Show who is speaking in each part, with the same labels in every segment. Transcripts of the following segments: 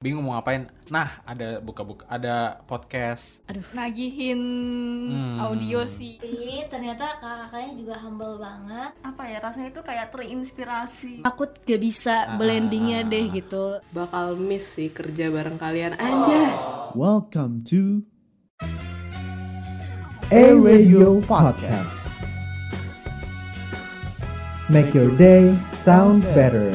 Speaker 1: bingung mau ngapain. Nah, ada buka-buka, ada podcast.
Speaker 2: Aduh.
Speaker 3: nagihin
Speaker 2: Hmm.
Speaker 3: audio sih
Speaker 4: Tapi ternyata kakaknya juga humble banget.
Speaker 5: apa ya rasanya itu kayak terinspirasi
Speaker 2: Aku gak bisa blendingnya deh gitu.
Speaker 6: bakal miss sih kerja bareng kalian
Speaker 1: Iya.
Speaker 6: anjas
Speaker 7: Welcome to A Radio Podcast. Make your day sound better.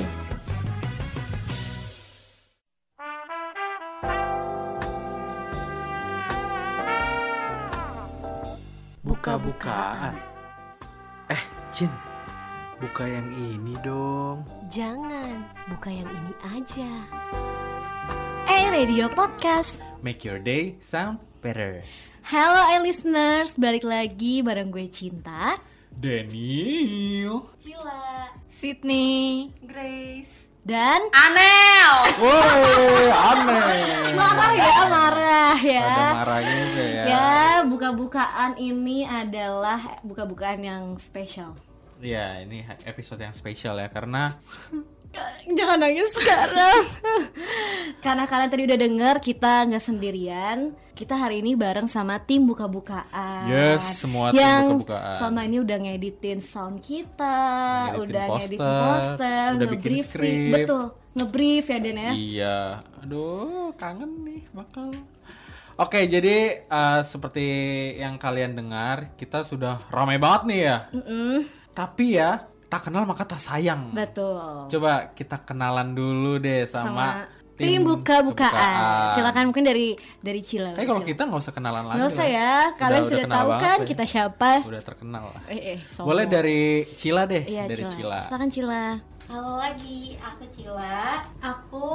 Speaker 1: Buka-bukaan.
Speaker 8: Eh, Jin, buka yang ini dong.
Speaker 2: Jangan, buka yang ini aja. Eh Radio Podcast.
Speaker 1: Make your day sound better.
Speaker 2: Halo eh listeners, balik lagi bareng gue Cinta.
Speaker 1: Daniel.
Speaker 4: Cila.
Speaker 3: Sydney
Speaker 5: Grace
Speaker 2: Dan
Speaker 3: Anel
Speaker 1: Woi, aneh.
Speaker 2: marah ya, marah ya.
Speaker 1: Ada marahnya juga ya.
Speaker 2: Ya, buka-bukaan ini adalah buka-bukaan yang spesial.
Speaker 1: Ya, ini episode yang spesial ya karena
Speaker 2: Jangan nangis sekarang. Karena kalian tadi udah denger kita nggak sendirian. Kita hari ini bareng sama tim buka-bukaan.
Speaker 1: Yes, semua tim
Speaker 2: yang
Speaker 1: buka-bukaan.
Speaker 2: Selama ini udah ngeditin sound kita,
Speaker 1: Ngeditin
Speaker 2: udah ngeditin
Speaker 1: poster,
Speaker 2: poster,
Speaker 1: udah bikin
Speaker 2: ngebriefing,
Speaker 1: skrip.
Speaker 2: betul. Ngebrief ya Den ya.
Speaker 1: iya, aduh, kangen nih bakal. Oke, jadi eh, seperti yang kalian dengar, kita sudah ramai banget nih ya.
Speaker 2: Mm-mm,
Speaker 1: Tapi ya, tak kenal maka tak sayang.
Speaker 2: betul.
Speaker 1: Coba kita kenalan dulu deh sama,
Speaker 2: tim buka-bukaan.
Speaker 1: kebukaan.
Speaker 2: Silakan mungkin dari dari Cila.
Speaker 1: Tapi kalau kita nggak usah kenalan lagi.
Speaker 2: nggak usah
Speaker 1: lah.
Speaker 2: ya, kalian sudah,
Speaker 1: kenal
Speaker 2: tahu
Speaker 1: banget
Speaker 2: kan
Speaker 1: lah ya.
Speaker 2: kita siapa.
Speaker 1: Udah terkenal lah.
Speaker 2: Eh, eh, sombong.
Speaker 1: Boleh dari Cila deh,
Speaker 2: Iya,
Speaker 1: dari
Speaker 2: Cila.
Speaker 1: Cila.
Speaker 2: Silakan Cila.
Speaker 4: Halo lagi, aku Cila. Aku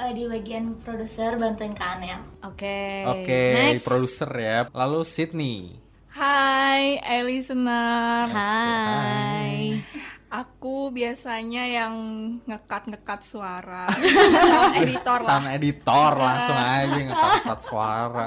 Speaker 4: eh, di bagian produser bantuin Kak Anel.
Speaker 2: Oke.
Speaker 1: Oke,
Speaker 2: Next.
Speaker 1: produser ya. Lalu Sydney.
Speaker 3: Hai eh listener
Speaker 2: Hai.
Speaker 3: aku biasanya yang ngekat ngekat suara Sound editor lah
Speaker 1: Sound editor langsung aja ngekat suara.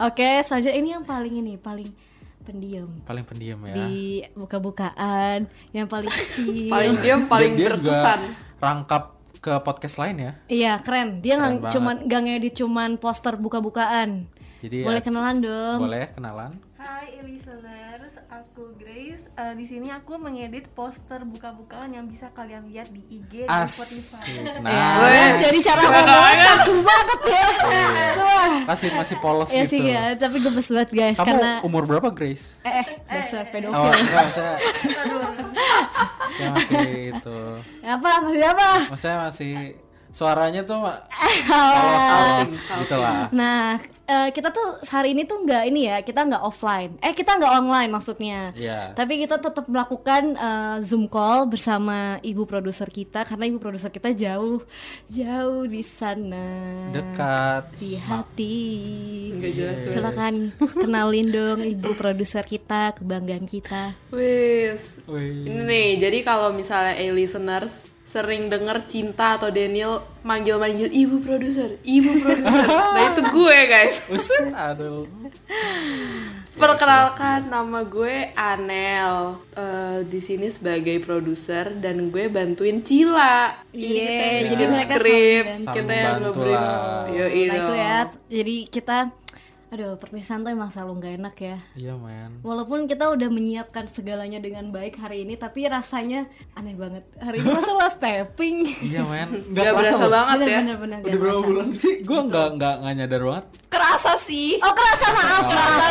Speaker 2: Oke, selanjutnya ini yang paling ini paling pendiam
Speaker 1: Paling pendiam ya.
Speaker 2: di buka-bukaan yang paling kecil.
Speaker 6: paling diam paling
Speaker 1: Dan dia juga
Speaker 6: berkesan
Speaker 1: Rangkap ke podcast lain ya.
Speaker 2: Iya, keren.
Speaker 1: Keren
Speaker 2: Dia nggak
Speaker 1: banget.
Speaker 2: cuman gak ngedit cuman poster buka-bukaan.
Speaker 1: Jadi ya,
Speaker 2: Boleh kenalan dong.
Speaker 1: boleh kenalan.
Speaker 5: Hai listeners, aku Grace. Eh, di sini aku mengedit poster buka-bukaan yang bisa kalian lihat di IG dan Spotify.
Speaker 1: Asik.
Speaker 2: Ya,
Speaker 1: Nah,
Speaker 2: jadi cara ngomongnya kaku banget ya. Wah.
Speaker 1: masih masih polos
Speaker 2: Ya sih
Speaker 1: Iya. gitu.
Speaker 2: ya, tapi gemes banget guys
Speaker 1: Kamu
Speaker 2: karena
Speaker 1: umur berapa, Grace?
Speaker 2: eh eh dasar pedofil.
Speaker 1: Oh, enggak, saya, saya masih itu.
Speaker 2: Apa maksudnya apa?
Speaker 1: Saya masih suaranya tuh ma-
Speaker 2: Ah.
Speaker 1: polos-polos gitu lah.
Speaker 2: Nah, eh, kita tuh hari ini tuh nggak ini ya, kita nggak offline. Eh, kita nggak online maksudnya.
Speaker 1: Iya.
Speaker 2: Tapi kita tetap melakukan eh, Zoom call bersama ibu produser kita karena ibu produser kita jauh, jauh di sana.
Speaker 1: Dekat.
Speaker 2: Di hati.
Speaker 6: nggak jelas banget.
Speaker 2: Silakan kenalin dong ibu produser kita, kebanggaan kita.
Speaker 6: wis
Speaker 1: Wih.
Speaker 6: ini nih jadi kalau misalnya a listeners sering denger cinta atau Daniel manggil-manggil ibu produser ibu produser nah itu gue guys
Speaker 1: Uset, aduh.
Speaker 6: Perkenalkan nama gue Anel. Eh, di sini sebagai produser dan gue bantuin Cila. Ini kita
Speaker 2: Yeay,
Speaker 6: yang
Speaker 2: Iya, jadi
Speaker 6: bikin
Speaker 2: mereka
Speaker 6: skrip,
Speaker 2: saling
Speaker 1: bantu.
Speaker 6: kita yang
Speaker 1: Saling bantu
Speaker 6: ngebrief.
Speaker 1: lah.
Speaker 6: Yo
Speaker 2: Nah, itu ya. Jadi kita aduh, perpisahan tuh emang selalu nggak enak ya.
Speaker 1: Iya, men.
Speaker 2: Walaupun kita udah menyiapkan segalanya dengan baik hari ini, tapi rasanya aneh banget. Hari ini masa lo stepping.
Speaker 1: Iya, men.
Speaker 6: Gak berasa
Speaker 1: loh.
Speaker 6: banget ya.
Speaker 2: Bener-bener
Speaker 1: Udah berapa bulan sih? Gue nggak nggak nggak nyadar banget.
Speaker 3: kerasa sih
Speaker 2: Oh kerasa maaf, maaf, maaf,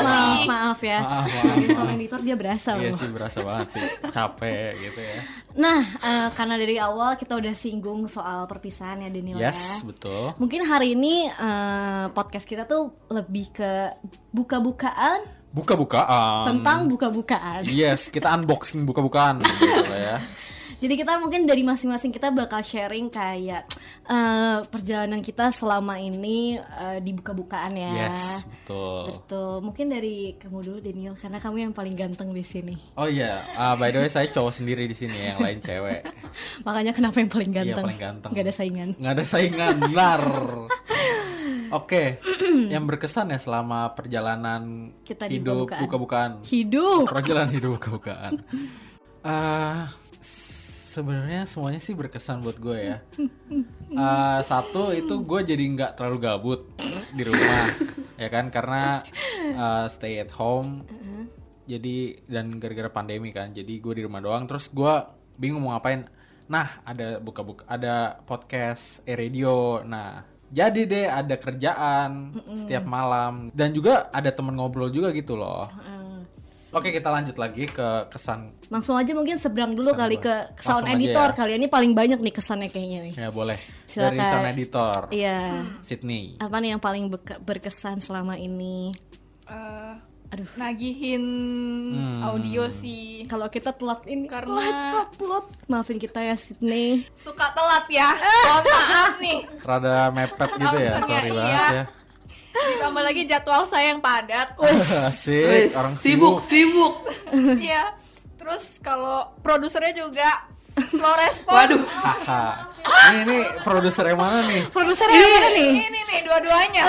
Speaker 2: maaf ya.
Speaker 1: Maaf, maaf,
Speaker 2: Sebagai
Speaker 1: maaf.
Speaker 2: seorang editor dia berasa
Speaker 1: Iya
Speaker 2: loh.
Speaker 1: sih berasa banget sih. Capek gitu ya.
Speaker 2: Nah, eh, karena dari awal kita udah singgung soal perpisahan ya Daniel
Speaker 1: Yes,
Speaker 2: ya.
Speaker 1: betul.
Speaker 2: Mungkin hari ini eh, podcast kita tuh lebih ke buka-bukaan
Speaker 1: Buka-bukaan.
Speaker 2: tentang buka-bukaan.
Speaker 1: Yes, kita unboxing buka-bukaan gitu lah ya.
Speaker 2: Jadi kita mungkin dari masing-masing kita bakal sharing kayak eh, perjalanan kita selama ini eh, di buka-bukaan ya.
Speaker 1: Yes, betul.
Speaker 2: Betul. Mungkin dari kamu dulu Daniel karena kamu yang paling ganteng di sini.
Speaker 1: Oh iya, Ah, by the way saya cowok sendiri di sini, yang lain cewek.
Speaker 2: Makanya kenapa yang paling
Speaker 1: Iya,
Speaker 2: ganteng?
Speaker 1: paling ganteng.
Speaker 2: Gak ada saingan.
Speaker 1: Nggak ada saingan, benar. Oke, yang berkesan ya selama perjalanan
Speaker 2: Kita di
Speaker 1: hidup
Speaker 2: buka-bukaan.
Speaker 1: buka-bukaan.
Speaker 2: Hidup.
Speaker 1: Perjalanan hidup buka-bukaan. Eh, s- sebenarnya semuanya sih berkesan buat gue ya. Eh, satu itu gue jadi nggak terlalu gabut di rumah, ya kan karena eh, stay at home. Jadi dan gara-gara pandemi kan, jadi gue di rumah doang. Terus gue bingung mau ngapain. Nah ada buka-buka, ada podcast, e radio. Nah jadi deh ada kerjaan setiap malam dan juga ada temen ngobrol juga gitu loh. Oke kita lanjut lagi ke kesan
Speaker 2: Langsung aja mungkin seberang dulu
Speaker 1: Kesan
Speaker 2: kali
Speaker 1: gua.
Speaker 2: ke
Speaker 1: Langsung
Speaker 2: sound
Speaker 1: aja
Speaker 2: editor
Speaker 1: ya.
Speaker 2: kalian ini paling banyak nih kesannya kayaknya nih.
Speaker 1: Ya boleh. Dari
Speaker 2: Silakan.
Speaker 1: sound editor
Speaker 2: Iya.
Speaker 1: Sydney.
Speaker 2: Apa nih yang paling beke- berkesan selama ini?
Speaker 3: Eh,
Speaker 2: Aduh.
Speaker 3: nagihin
Speaker 1: Hmm.
Speaker 3: audio sih
Speaker 2: Kalau kita telat ini
Speaker 3: karena
Speaker 2: upload, maafin kita ya Sydney.
Speaker 3: suka telat ya. Mohon maaf nih.
Speaker 1: Rada mepet gitu ya,
Speaker 3: Alasannya
Speaker 1: sorry
Speaker 3: iya.
Speaker 1: banget ya.
Speaker 3: Ditambah lagi jadwal saya yang padat.
Speaker 1: Asik, Eh,
Speaker 6: Wes,
Speaker 1: orang
Speaker 6: sibuk,
Speaker 1: sibuk.
Speaker 6: sibuk.
Speaker 3: Iya. Terus kalau produsernya juga slow respon.
Speaker 6: Waduh,
Speaker 1: Haha. Ini ini produser yang mana nih?
Speaker 2: Produser yang
Speaker 6: Iya
Speaker 2: mana nih?
Speaker 3: Ini nih dua-duanya.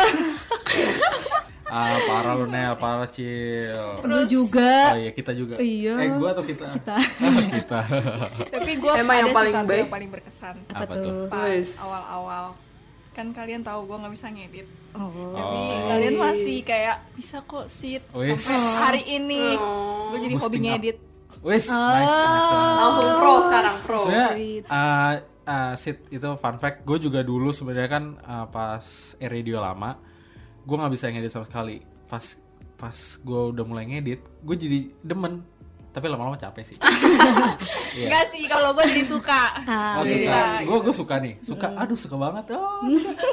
Speaker 1: Ah, parah lu Nel, parah Cil.
Speaker 2: Lu juga.
Speaker 1: Oh iya, kita juga.
Speaker 2: Iya.
Speaker 1: Eh, gua atau kita?
Speaker 2: Kita.
Speaker 1: Ah, kita.
Speaker 3: Tapi gue
Speaker 6: Emang yang
Speaker 3: ada
Speaker 6: paling
Speaker 3: sih satu
Speaker 6: baik?
Speaker 3: yang paling berkesan.
Speaker 2: Apa,
Speaker 1: Apa
Speaker 2: tuh?
Speaker 1: tuh?
Speaker 3: Pas
Speaker 6: Wes.
Speaker 3: awal-awal. Kan kalian tahu gue nggak bisa ngedit.
Speaker 2: Oh.
Speaker 3: Tapi kalian masih kayak bisa kok sit
Speaker 1: Wes.
Speaker 3: sampai hari ini.
Speaker 6: Oh.
Speaker 3: Gue jadi hobi
Speaker 1: Boosting up.
Speaker 3: ngedit.
Speaker 1: Wis, nice,
Speaker 2: Oh.
Speaker 1: nice. one.
Speaker 6: langsung pro sekarang pro.
Speaker 1: Sebenarnya, eh, eh, Sid, itu fun fact gue juga dulu sebenarnya kan eh, pas radio lama gue nggak bisa ngedit sama sekali pas pas gue udah mulai ngedit gue jadi demen tapi lama-lama capek sih Iya.
Speaker 3: Enggak sih kalau gue jadi suka.
Speaker 6: Ah.
Speaker 1: Oh, suka. Gue gue suka nih, suka. Aduh suka banget. Oh,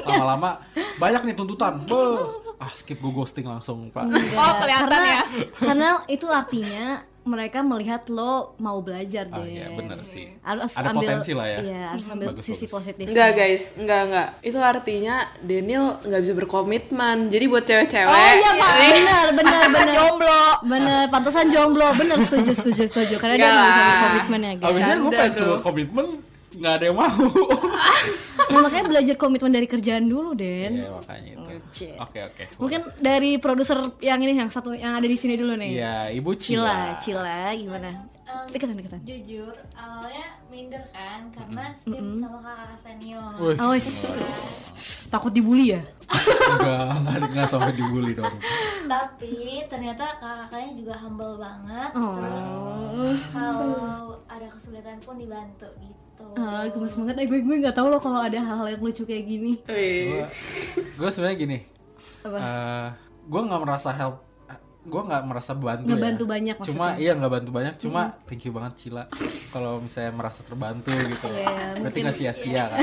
Speaker 1: lama-lama banyak nih tuntutan. Beuh. Ah skip gue ghosting langsung pak.
Speaker 2: Hmm.
Speaker 3: Oh, kelihatan
Speaker 2: karena,
Speaker 3: ya.
Speaker 2: Karena itu artinya mereka melihat lo mau belajar deh.
Speaker 1: Ah ya bener sih.
Speaker 2: Harus
Speaker 1: Ada
Speaker 2: ambil,
Speaker 1: potensi lah ya.
Speaker 2: Iya, harus ambil
Speaker 1: Bagus,
Speaker 2: sisi Oh,
Speaker 1: bagus.
Speaker 2: positif.
Speaker 6: Enggak guys, enggak enggak. Itu artinya Daniel nggak bisa berkomitmen. Jadi buat cewek-cewek,
Speaker 2: Oh iya Pak,
Speaker 6: jadi-
Speaker 2: benar, benar, benar. jomblo. Benar, pantesan jomblo. Benar, setuju, setuju, setuju. Karena dia
Speaker 6: Enggak
Speaker 2: nggak bisa
Speaker 6: lah.
Speaker 2: berkomitmen ya guys.
Speaker 1: Abisnya gue
Speaker 6: Canda
Speaker 1: pengen
Speaker 6: tuh.
Speaker 1: coba komitmen nggak ada yang mau.
Speaker 2: Nah, makanya belajar komitmen dari kerjaan dulu, Den.
Speaker 1: Iya makanya itu.
Speaker 2: Lucu.
Speaker 1: Oke oke.
Speaker 2: Mungkin dari produser yang ini yang satu yang ada di sini dulu nih.
Speaker 1: Iya ibu
Speaker 2: Cila, Cila gimana?
Speaker 4: Em,
Speaker 2: Deketan, deketan.
Speaker 4: jujur awalnya minder kan karena skip sama kakak senior
Speaker 1: Wih,
Speaker 2: Oh, wes. takut dibully ya?
Speaker 1: enggak, enggak, enggak sampai dibully dong.
Speaker 4: tapi ternyata kakaknya juga humble banget
Speaker 2: Oh.
Speaker 4: terus kalau ada kesulitan pun dibantu gitu
Speaker 2: Ah, gemes banget. Eh, gue gue nggak tahu loh kalau ada hal-hal yang lucu kayak gini.
Speaker 6: Wih.
Speaker 1: Gue sebenarnya gini,
Speaker 2: Apa?
Speaker 1: eh, gue nggak merasa help, gue nggak merasa bantu.
Speaker 2: Nggak
Speaker 1: ya.
Speaker 2: bantu banyak
Speaker 1: Cuma
Speaker 2: maksudnya.
Speaker 1: iya nggak bantu banyak, cuma thank you banget Cila. Kalau misalnya merasa terbantu gitu,
Speaker 2: Iya,
Speaker 1: berarti nggak sia-sia kan.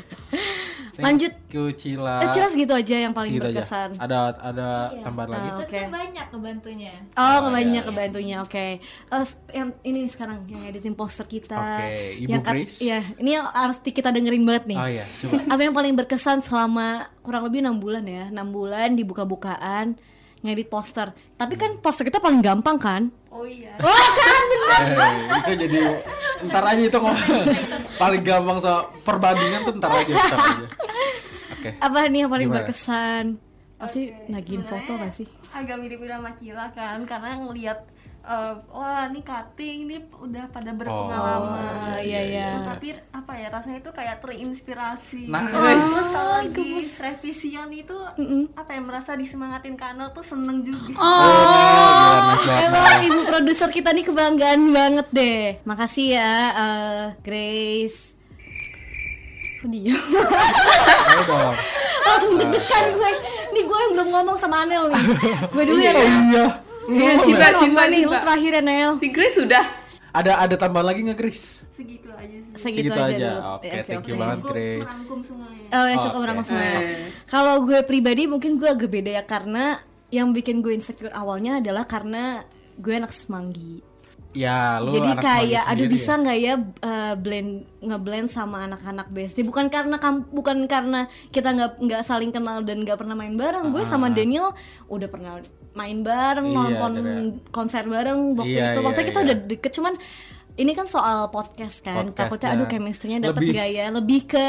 Speaker 1: Thank
Speaker 2: Lanjut.
Speaker 1: you Cila.
Speaker 2: Eh, jelas gitu aja yang paling
Speaker 1: Gitu aja.
Speaker 2: berkesan. Eh.
Speaker 1: Ada ada
Speaker 4: Iya.
Speaker 1: tambahan lagi.
Speaker 4: tapi
Speaker 2: Oke.
Speaker 4: kan banyak ngebantunya
Speaker 1: Iya,
Speaker 2: Oh, kebanyakan kebantunya. Oke. Eh, s- yang ini nih sekarang yang editing poster kita.
Speaker 1: Oke, Ibu
Speaker 2: Yang kat-
Speaker 1: Grace.
Speaker 2: Iya, ini yang harus di- kita dengerin banget nih.
Speaker 1: Oh iya, coba.
Speaker 2: Apa yang paling berkesan selama kurang lebih enam bulan ya? 6 bulan di buka-bukaan ngedit poster. Tapi kan
Speaker 1: Hmm.
Speaker 2: poster kita paling gampang kan?
Speaker 5: Oh iya.
Speaker 1: Eh, itu jadi ntar aja itu ngomong paling gampang soal perbandingan tuh ntar aja ntar aja oke
Speaker 2: Apa nih yang paling
Speaker 1: Gimana?
Speaker 2: berkesan? Pasti nagihin foto gak sih?
Speaker 5: agak mirip-mirip sama Cila kan karena ngelihat eh, wah ini cutting ini udah pada berpengalaman.
Speaker 2: Oh, iya, iya.
Speaker 5: Tapi apa ya rasanya itu kayak terinspirasi.
Speaker 1: Nah.
Speaker 5: Terus kalau di revisian itu apa yang merasa disemangatin Kano tuh seneng juga.
Speaker 1: oh nice banget
Speaker 2: Emang Eh, ibu produser kita nih kebanggaan banget deh. Makasih ya eh, Grace. Kok diem?
Speaker 1: Ayo dong
Speaker 2: Langsung deg-degan gue. Nih gue yang belum ngomong sama Anel nih. Gue dulu ya. Nel.
Speaker 1: iya
Speaker 6: Iya, cinta,
Speaker 2: Lu
Speaker 6: cinta,
Speaker 2: apa nih lu
Speaker 6: cinta.
Speaker 2: terakhir ya Nel.
Speaker 6: Si Grace sudah.
Speaker 1: ada ada tambahan lagi nggak Chris
Speaker 5: Segitu aja sih.
Speaker 2: Segitu aja. dulu.
Speaker 1: oke
Speaker 2: Ya,
Speaker 1: thank you banget
Speaker 5: Cukup
Speaker 1: Chris
Speaker 5: merangkum semuanya.
Speaker 2: Eh, udah cukup
Speaker 1: Oke.
Speaker 2: merangkum semua.
Speaker 6: Eh.
Speaker 2: Kalau gue pribadi mungkin gue agak beda ya karena yang bikin gue insecure awalnya adalah karena gue anak semanggi.
Speaker 1: ya lu
Speaker 2: Jadi
Speaker 1: anak
Speaker 2: kayak
Speaker 1: semanggi
Speaker 2: aduh
Speaker 1: sendiri
Speaker 2: bisa nggak ya eh, blend ngeblend sama anak-anak BSD bukan karena kam- bukan karena kita nggak nggak saling kenal dan nggak pernah main bareng gue sama Daniel udah pernah main
Speaker 1: Ah.
Speaker 2: bareng
Speaker 1: Iya,
Speaker 2: nonton
Speaker 1: Dera.
Speaker 2: konser bareng waktu
Speaker 1: Iya,
Speaker 2: itu maksudnya
Speaker 1: iya,
Speaker 2: kita
Speaker 1: iya.
Speaker 2: udah deket cuman ini kan soal podcast kan
Speaker 1: Podcast
Speaker 2: takutnya
Speaker 1: dan
Speaker 2: aduh chemistry-nya dapat
Speaker 1: lebih- Ah,
Speaker 2: gak ya lebih ke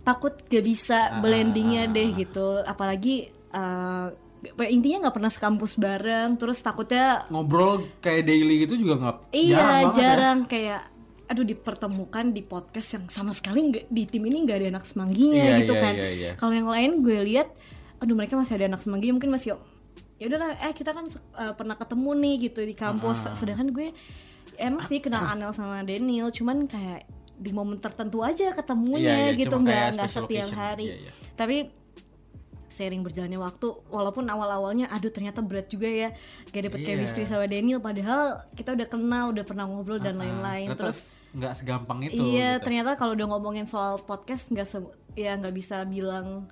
Speaker 2: takut gak bisa blendingnya deh gitu apalagi eh, intinya nggak pernah sekampus bareng terus takutnya
Speaker 1: ngobrol kayak daily gitu juga nggak
Speaker 2: Iya
Speaker 1: jarang
Speaker 2: jarang,
Speaker 1: banget ya.
Speaker 2: kayak aduh dipertemukan di podcast yang sama sekali nggak di tim ini nggak ada anak semangginya
Speaker 1: Iya,
Speaker 2: gitu
Speaker 1: iya,
Speaker 2: kan
Speaker 1: iya, iya.
Speaker 2: kalau yang lain gue lihat aduh mereka masih ada anak semangginya mungkin masih ya udahlah eh kita kan se- eh, pernah ketemu nih gitu di kampus
Speaker 1: Ah.
Speaker 2: sedangkan gue emang sih kenal Anel sama Daniel cuman kayak di momen tertentu aja ketemunya
Speaker 1: Iya, iya,
Speaker 2: gitu
Speaker 1: cuma
Speaker 2: nggak
Speaker 1: kayak
Speaker 2: nggak
Speaker 1: special
Speaker 2: setiap
Speaker 1: occasion.
Speaker 2: hari
Speaker 1: Iya, iya.
Speaker 2: tapi sering berjalannya waktu walaupun awal-awalnya aduh ternyata berat juga ya gak dapet
Speaker 1: Iya.
Speaker 2: chemistry sama Daniel padahal kita udah kenal udah pernah ngobrol dan lain-lain
Speaker 1: Nah,
Speaker 2: terus,
Speaker 1: terus nggak segampang itu
Speaker 2: iya
Speaker 1: gitu.
Speaker 2: ternyata kalau udah ngomongin soal podcast nggak se- ya nggak bisa bilang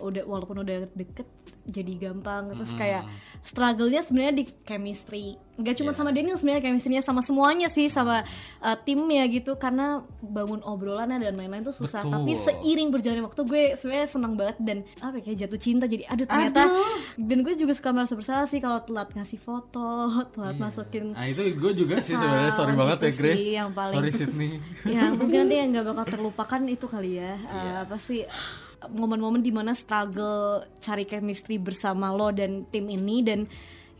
Speaker 2: udah walaupun udah deket jadi gampang terus kayak struggle-nya sebenarnya di chemistry nggak
Speaker 1: Iya.
Speaker 2: cuma sama Daniel sebenarnya chemistry-nya sama semuanya sih sama uh, timnya gitu karena bangun obrolannya dan lain-lain tuh susah
Speaker 1: Betul.
Speaker 2: tapi seiring berjalannya waktu gue sebenarnya senang banget dan apa ya, kayak jatuh cinta jadi aduh ternyata dan gue juga suka merasa bersalah sih kalau telat ngasih foto telat masukin
Speaker 1: nah itu gue juga sih
Speaker 2: Sound
Speaker 1: sebenarnya sorry banget
Speaker 2: gitu
Speaker 1: ya Grace
Speaker 2: sih yang paling-
Speaker 1: sorry Sydney
Speaker 2: ya mungkin nanti yang nggak bakal terlupakan itu kali ya Eh,
Speaker 1: Iya.
Speaker 2: apa sih momen-momen dimana struggle cari chemistry bersama lo dan tim ini dan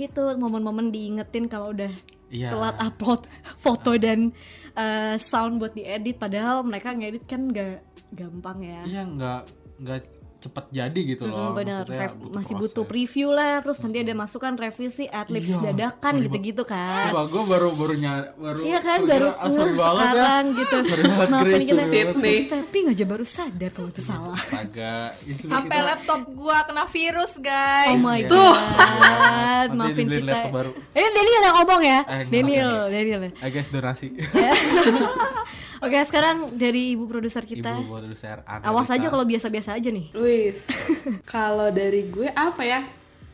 Speaker 2: itu momen-momen diingetin kalau udah
Speaker 1: Iya. Ah.
Speaker 2: telat upload foto dan eh, sound buat diedit padahal mereka ngedit kan nggak gampang ya
Speaker 1: iya nggak nggak cepet jadi gitu loh
Speaker 2: Mm, benar
Speaker 1: Maksudnya
Speaker 2: Rev- masih
Speaker 1: proses.
Speaker 2: butuh preview lah terus nanti ada masukan revisi adlibs
Speaker 1: Iya,
Speaker 2: dadakan
Speaker 1: sorry
Speaker 2: gitu-gitu kan
Speaker 1: Coba gue baru baru nyari baru
Speaker 2: Iya kan
Speaker 1: terkira,
Speaker 2: baru
Speaker 1: ah,
Speaker 2: ngeh
Speaker 1: sorry banget ya.
Speaker 2: sekarang gitu.
Speaker 1: Sorry banget,
Speaker 2: Maafin
Speaker 1: Grace,
Speaker 2: kita
Speaker 1: sorry banget.
Speaker 6: Sydney.
Speaker 2: stepping aja baru sadar kalau itu salah.
Speaker 1: Astaga, ini sebenarnya
Speaker 3: Sampai
Speaker 2: Gitu.
Speaker 1: kita-
Speaker 3: laptop gua kena virus, guys.
Speaker 2: Oh my
Speaker 1: Iya.
Speaker 2: god.
Speaker 1: Nanti
Speaker 2: Maafin
Speaker 1: dibeliin
Speaker 2: kita.
Speaker 1: laptop baru.
Speaker 2: Eh Daniel yang ngomong
Speaker 1: Eh,
Speaker 2: ya.
Speaker 1: nggak
Speaker 2: Daniel,
Speaker 1: usah,
Speaker 2: Daniel. ya.
Speaker 1: I guess donasi.
Speaker 2: Oke, sekarang dari ibu produser kita.
Speaker 1: Ibu buat share analisa.
Speaker 2: Awas aja kalau biasa-biasa aja nih.
Speaker 6: Wis. Kalau dari gue apa ya?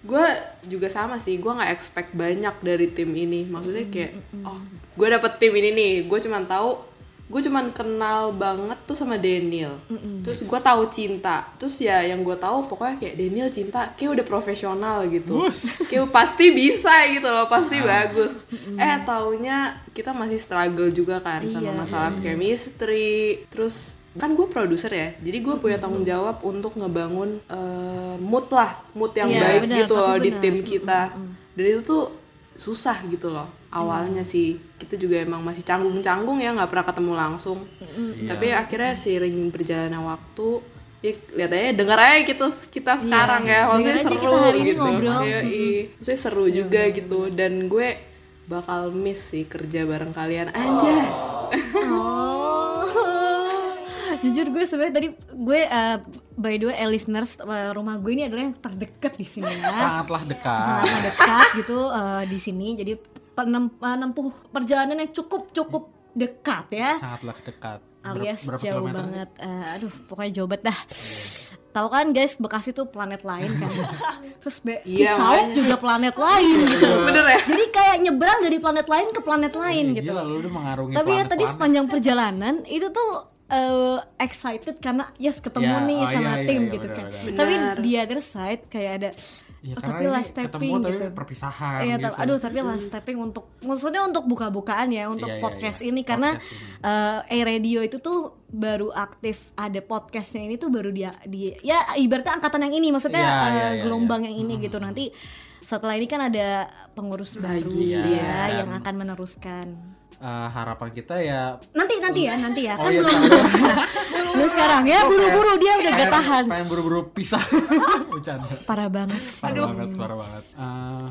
Speaker 6: Gue juga sama sih. Gue nggak expect banyak dari tim ini. Maksudnya kayak, oh, gue dapet tim ini nih. Gue cuman tahu, gue cuman kenal banget tuh sama Daniel. Terus gue tahu cinta. Terus ya yang gue tahu pokoknya kayak Daniel cinta, kayak udah profesional gitu. Kayak pasti bisa gitu loh, pasti bagus. Eh taunya kita masih struggle juga kan
Speaker 2: Iya.
Speaker 6: sama masalah chemistry. Terus kan gue produser ya jadi gue punya tanggung jawab untuk ngebangun eh, mood lah mood yang
Speaker 2: Iya,
Speaker 6: baik
Speaker 2: benar,
Speaker 6: gitu
Speaker 2: tapi
Speaker 6: loh di
Speaker 2: benar.
Speaker 6: tim kita dan itu tuh susah gitu loh awalnya
Speaker 2: Iya.
Speaker 6: sih kita juga emang masih canggung-canggung ya nggak pernah ketemu langsung tapi akhirnya seiring berjalannya waktu ya lihat aja dengar aja gitu kita sekarang ya
Speaker 2: Dengar Iya.
Speaker 6: maksudnya
Speaker 2: aja
Speaker 6: seru
Speaker 2: kita hari ini
Speaker 6: gitu
Speaker 2: ngobrol.
Speaker 6: Iya, iya. maksudnya seru juga gitu dan gue bakal miss sih kerja bareng kalian anjas
Speaker 2: Oh. Jujur gue sebenarnya tadi gue eh, by the way eh, listeners eh, rumah gue ini adalah yang terdekat di sini ya.
Speaker 1: sangatlah dekat.
Speaker 2: sangat dekat gitu eh, di sini jadi penem- menempuh perjalanan yang cukup cukup dekat ya
Speaker 1: Sangatlah dekat. Ber-
Speaker 2: alias
Speaker 1: berapa
Speaker 2: jauh
Speaker 1: kilometer sih?
Speaker 2: banget Eh, aduh pokoknya jauh banget dah tahu kan guys Bekasi tuh planet lain kan terus Be
Speaker 6: Iya,
Speaker 2: Cisauk
Speaker 6: makanya.
Speaker 2: juga planet lain gitu
Speaker 6: bener ya
Speaker 2: jadi kayak nyebrang dari planet lain ke planet lain gitu
Speaker 1: Iya, Gila, lu udah mengarungi
Speaker 2: tapi ya
Speaker 1: planet-planet.
Speaker 2: tadi sepanjang perjalanan itu tuh eh, excited karena yes ketemu
Speaker 1: Ya,
Speaker 2: nih
Speaker 1: oh,
Speaker 2: sama
Speaker 1: iya, iya,
Speaker 2: tim
Speaker 1: iya,
Speaker 2: gitu kan
Speaker 1: benar-benar.
Speaker 2: tapi
Speaker 6: Benar.
Speaker 2: di other side kayak ada
Speaker 1: Ya,
Speaker 2: "Oh,
Speaker 1: karena
Speaker 2: tapi
Speaker 1: ini
Speaker 2: last
Speaker 1: ketemu
Speaker 2: stepping
Speaker 1: tapi
Speaker 2: gitu
Speaker 1: perpisahan
Speaker 2: Iya,
Speaker 1: gitu.
Speaker 2: tapi- aduh tapi last stepping untuk maksudnya untuk buka-bukaan ya untuk
Speaker 1: Iya, iya,
Speaker 2: podcast
Speaker 1: iya.
Speaker 2: ini karena
Speaker 1: Podcast ini.
Speaker 2: eh radio itu tuh baru aktif ada podcastnya ini tuh baru dia di ya ibaratnya angkatan yang ini maksudnya
Speaker 1: Iya,
Speaker 2: eh,
Speaker 1: iya, iya,
Speaker 2: gelombang yang ini gitu nanti setelah ini kan ada pengurus baru
Speaker 6: Iya,
Speaker 2: ya yang
Speaker 1: dan-
Speaker 2: akan meneruskan
Speaker 1: Eh, harapan kita ya
Speaker 2: nanti nanti ya nanti ya
Speaker 1: Oh,
Speaker 2: kan
Speaker 1: iya,
Speaker 2: belum
Speaker 1: tahu.
Speaker 2: belum sekarang ya buru-buru dia udah gak
Speaker 1: pengen-
Speaker 2: tahan
Speaker 1: Pengen buru-buru pisah. Bercanda.
Speaker 2: parah banget sih.
Speaker 1: Parah banget, parah banget. Eh,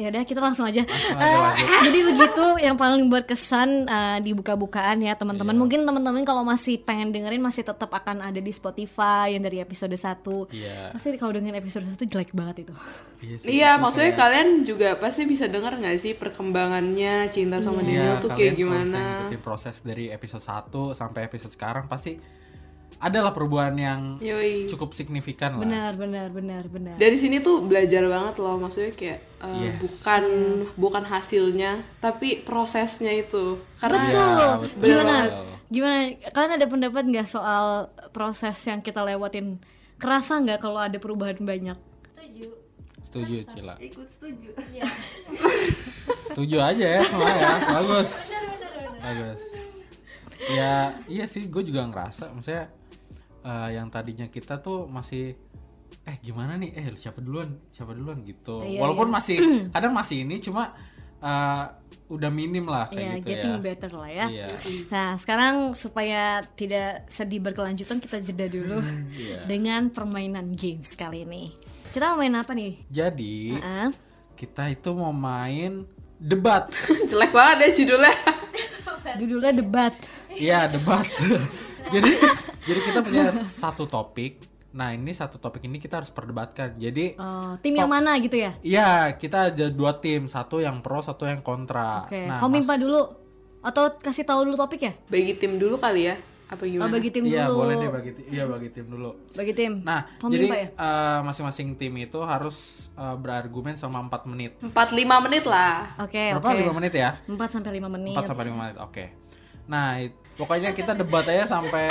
Speaker 2: ya udah kita langsung aja.
Speaker 1: aja,
Speaker 2: Eh,
Speaker 1: lanjut.
Speaker 2: jadi begitu yang paling berkesan eh, di buka-bukaan ya teman-teman.
Speaker 1: Iya.
Speaker 2: Mungkin teman-teman kalau masih pengen dengerin masih tetap akan ada di Spotify yang dari episode 1.
Speaker 1: Iya.
Speaker 2: Pasti kalau dengerin episode 1 jelek banget itu.
Speaker 1: iya sih,
Speaker 6: Iya,
Speaker 1: itu
Speaker 6: maksudnya
Speaker 1: kayak-
Speaker 6: kalian juga pasti bisa dengar nggak sih perkembangannya cinta
Speaker 1: Iya,
Speaker 6: sama Daniel tuh
Speaker 1: kalian
Speaker 6: kayak
Speaker 1: kalau
Speaker 6: gimana?
Speaker 1: misalnya ngikutin proses dari episode 1 sampai episode sekarang pasti adalah perubahan yang
Speaker 6: Yoi.
Speaker 1: cukup signifikan lah.
Speaker 2: Benar, benar, benar, benar.
Speaker 1: Iya,
Speaker 6: Dari sini tuh belajar banget loh, maksudnya kayak eh,
Speaker 1: Yes.
Speaker 6: bukan bukan hasilnya, tapi prosesnya itu. Karena ya,
Speaker 2: Betul.
Speaker 1: Iya, betul.
Speaker 2: Gimana?
Speaker 1: Betul.
Speaker 2: Gimana? Kalian ada pendapat nggak soal proses yang kita lewatin? Kerasa nggak kalau ada perubahan banyak?
Speaker 4: Setuju. Iya.
Speaker 1: Setuju, Cila.
Speaker 5: ikut setuju
Speaker 1: Setuju aja ya semua ya. Bagus. Bagus. Ya, iya sih gue juga ngerasa maksudnya eh, yang tadinya kita tuh masih eh gimana nih? Eh siapa duluan? Siapa duluan gitu.
Speaker 2: Iya,
Speaker 1: Walaupun masih kadang masih ini cuma eh, udah minim lah kayak
Speaker 2: ya
Speaker 1: gitu
Speaker 2: getting
Speaker 1: ya.
Speaker 2: better lah ya.
Speaker 1: Iya.
Speaker 2: Nah, sekarang supaya tidak sedih berkelanjutan kita jeda dulu
Speaker 1: iya.
Speaker 2: dengan permainan games kali ini. Kita mau main apa nih? Ah,
Speaker 1: Jadi
Speaker 2: Heeh.
Speaker 1: kita itu mau main debat.
Speaker 6: Jelek banget ya judulnya.
Speaker 2: Judulnya debat.
Speaker 1: Iya debat. jadi jadi kita punya satu topik. Nah ini satu topik ini kita harus perdebatkan. Jadi
Speaker 2: Oh, tim yang mana gitu ya?
Speaker 1: Iya, kita ada dua tim, satu yang pro, satu yang kontra.
Speaker 2: Oke,
Speaker 1: Nah,
Speaker 2: kamu mimpa dulu atau kasih tahu dulu topiknya?
Speaker 6: Bagi tim dulu kali ya. Apa
Speaker 2: Oh,
Speaker 6: gimana?
Speaker 2: bagi tim
Speaker 1: Iya,
Speaker 2: dulu.
Speaker 1: boleh deh bagi ti- iya bagi tim dulu.
Speaker 2: Bagi tim.
Speaker 1: Nah,
Speaker 2: Tom
Speaker 1: jadi
Speaker 2: mimpa ya?
Speaker 1: eh, masing-masing tim itu harus eh, berargumen selama 4 menit.
Speaker 6: 4-5 menit lah.
Speaker 2: Oke, ya,
Speaker 1: Berapa?
Speaker 2: oke.
Speaker 1: 5 menit ya?
Speaker 2: 4 sampai 5 menit.
Speaker 1: 4 sampai 5 menit. Oke. Nah, it- pokoknya kita debat aja sampai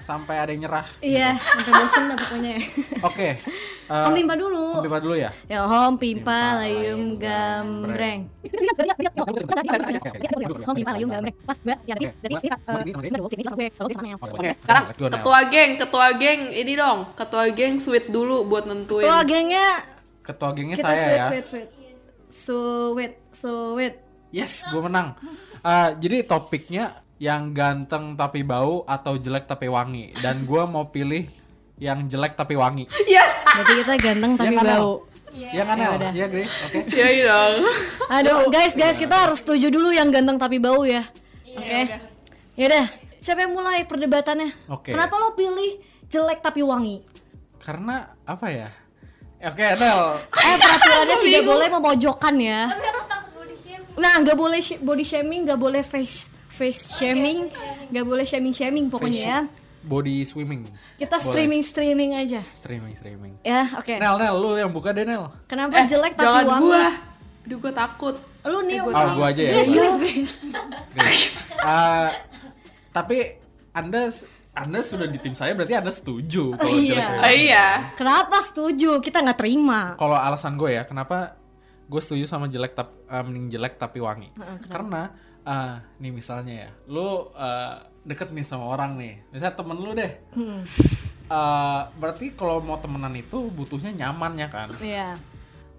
Speaker 1: sampai ada yang nyerah.
Speaker 2: Iya, sampai bosen dah pokoknya.
Speaker 1: Oke. eh,
Speaker 2: Om pimpa dulu.
Speaker 1: Om Pimpa dulu ya.
Speaker 2: Ya, hom pimpa layung gambreng. Hom pimpa layung gambreng. Pas gue ya tadi dari tadi
Speaker 1: Oke,
Speaker 2: oke.
Speaker 6: Sekarang
Speaker 1: let's go now.
Speaker 6: ketua geng, ketua geng ini dong. Ketua geng sweet dulu buat nentuin.
Speaker 2: Ketua gengnya
Speaker 1: Ketua gengnya
Speaker 2: kita
Speaker 1: saya
Speaker 2: sweet
Speaker 1: ya.
Speaker 2: sweet sweet. Sweet sweet.
Speaker 1: Yes, gue menang. Eh, jadi topiknya yang ganteng tapi bau atau jelek tapi wangi. Dan gue mau pilih yang jelek tapi wangi.
Speaker 6: Yes.
Speaker 2: Berarti kita ganteng tapi
Speaker 1: Iya kan, El?
Speaker 2: bau.
Speaker 1: Ya kan El? Iya Grace, oke.
Speaker 6: Ya iya dong.
Speaker 2: Aduh, guys, guys,
Speaker 1: Iya.
Speaker 2: kita harus setuju dulu yang ganteng tapi bau ya. Oke. Yaudah, siapa yang mulai perdebatannya?
Speaker 1: Oke.
Speaker 2: Kenapa lo pilih jelek tapi wangi?
Speaker 1: Karena apa ya? Oke, Nel.
Speaker 2: Eh, peraturannya tidak boleh memojokkan ya.
Speaker 4: Tapi aku takut body shaming.
Speaker 2: Nah, nggak boleh sh- body shaming, nggak boleh face face shaming, nggak boleh shaming shaming pokoknya ya.
Speaker 1: Body swimming.
Speaker 2: Kita
Speaker 1: Boleh.
Speaker 2: streaming streaming aja.
Speaker 1: Streaming, streaming.
Speaker 2: Ya, oke.
Speaker 1: Nel, Nel, lu yang buka deh, Nel.
Speaker 2: Kenapa Oh, jelek tapi
Speaker 6: Eh, Jangan
Speaker 2: wangi?
Speaker 6: gua. Aduh gua takut.
Speaker 2: Lu nih,
Speaker 1: Ah, gua aja ya.
Speaker 2: Grace,
Speaker 1: gua.
Speaker 2: Grace, Grace.
Speaker 1: Grace. Eh, tapi Anda Anda sudah di tim saya berarti Anda setuju kalau
Speaker 2: Iya.
Speaker 1: jelek. ya?
Speaker 6: Oh, iya.
Speaker 2: Kenapa setuju? Kita nggak terima.
Speaker 1: kalau alasan gue ya kenapa gue setuju sama jelek tapi mending jelek tapi wangi karena eh, nih misalnya ya lu eh, deket nih sama orang nih misalnya temen lu deh
Speaker 6: Hmm.
Speaker 1: Eh, berarti kalau mau temenan itu butuhnya nyamannya kan
Speaker 2: Iya.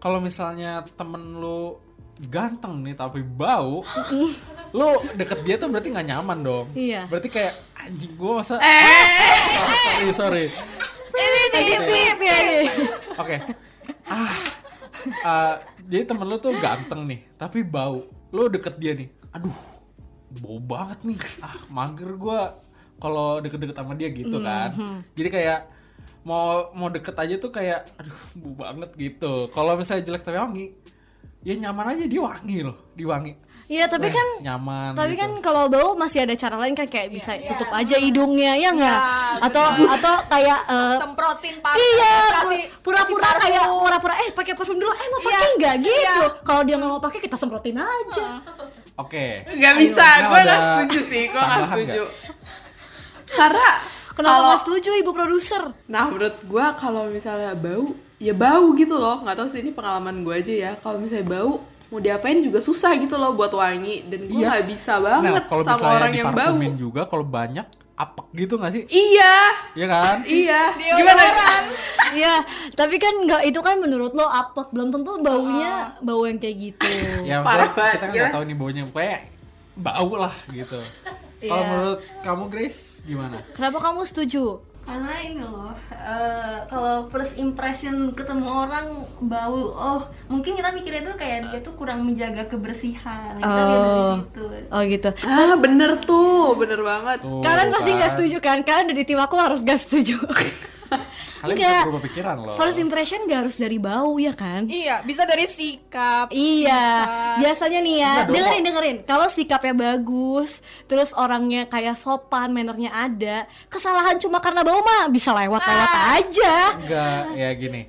Speaker 1: kalau misalnya temen lu ganteng nih tapi bau lu deket dia tuh berarti nggak nyaman dong
Speaker 2: Iya.
Speaker 1: berarti kayak anjing gue masa Ah, sorry sorry
Speaker 2: Ini pip ya.
Speaker 1: Oke. Ah. Ah, jadi temen lu tuh ganteng nih, tapi bau. Lu deket dia nih. Aduh, bau banget nih. Ah, mager gua kalau deket-deket sama dia gitu
Speaker 2: Mm-hmm.
Speaker 1: kan. Jadi kayak mau mau deket aja tuh kayak aduh, bau banget gitu. Kalau misalnya jelek tapi wangi, ya nyaman aja dia wangi loh, diwangi.
Speaker 2: Iya,
Speaker 1: Weh,
Speaker 2: tapi kan
Speaker 1: nyaman
Speaker 2: Tapi
Speaker 1: gitu.
Speaker 2: kan kalau bau masih ada cara lain kan kayak bisa tutup aja hidungnya ya nggak? atau atau kayak eh,
Speaker 3: Semprotin parfum.
Speaker 2: iya
Speaker 3: kasih-
Speaker 2: pu- pura-pura
Speaker 3: kasih parfum.
Speaker 2: kayak pura-pura eh pakai parfum dulu eh mau
Speaker 5: Iya,
Speaker 2: pakai nggak gitu. Kalau dia nggak mau pakai kita semprotin aja.
Speaker 1: Oke.
Speaker 6: Gak
Speaker 1: Ayo,
Speaker 6: bisa,
Speaker 1: Mel,
Speaker 6: gue gak
Speaker 1: ada
Speaker 6: setuju sih, gue gak
Speaker 1: tambahan
Speaker 6: setuju Karena
Speaker 2: Kenapa
Speaker 6: kalau-
Speaker 2: nggak setuju ibu produser?
Speaker 6: Nah menurut gue kalau misalnya bau, ya bau gitu loh Gak tau sih ini pengalaman gue aja ya Kalau misalnya bau, mau diapain juga susah gitu loh buat wangi Dan gue
Speaker 1: Iya.
Speaker 6: gak bisa
Speaker 1: Nah,
Speaker 6: banget
Speaker 1: kalau
Speaker 6: sama
Speaker 1: misalnya
Speaker 6: orang yang bau
Speaker 1: diparfumin juga kalau banyak apek gitu gak sih?
Speaker 6: Iya,
Speaker 1: Iya kan?
Speaker 6: iya Gimana?
Speaker 2: Iya, tapi kan nggak itu kan menurut lo apek belum tentu baunya bau yang kayak gitu.
Speaker 1: ya maksudnya
Speaker 6: Parah banget,
Speaker 1: kita kan
Speaker 6: ya.
Speaker 1: nggak tahu nih baunya kayak bau lah gitu kalau
Speaker 2: Iya.
Speaker 1: menurut kamu Grace gimana
Speaker 2: Kenapa kamu setuju?
Speaker 5: karena ini loh eh, kalau first impression ketemu orang bau oh mungkin kita mikirnya tuh kayak dia tuh kurang menjaga kebersihan Nah, kita lihat dari
Speaker 2: Oh.
Speaker 5: situ
Speaker 2: Oh gitu.
Speaker 6: Ah bener tuh, bener banget
Speaker 1: Tuh,
Speaker 2: Kalian pasti
Speaker 1: kan.
Speaker 2: nggak setuju kan? Kalian dari tim aku harus nggak setuju.
Speaker 1: kalian bisa
Speaker 2: Nggak.
Speaker 1: berubah pikiran loh
Speaker 2: First impression gak harus dari bau ya kan?
Speaker 3: Iya, bisa dari sikap.
Speaker 2: Iya, biasanya nih ya,
Speaker 1: Enggak dong.
Speaker 2: dengerin dengerin. Kalau sikapnya bagus, terus orangnya kayak sopan, mannernya ada, kesalahan cuma karena bau mah bisa lewat-lewat
Speaker 1: Nah,
Speaker 2: aja.
Speaker 1: enggak ya gini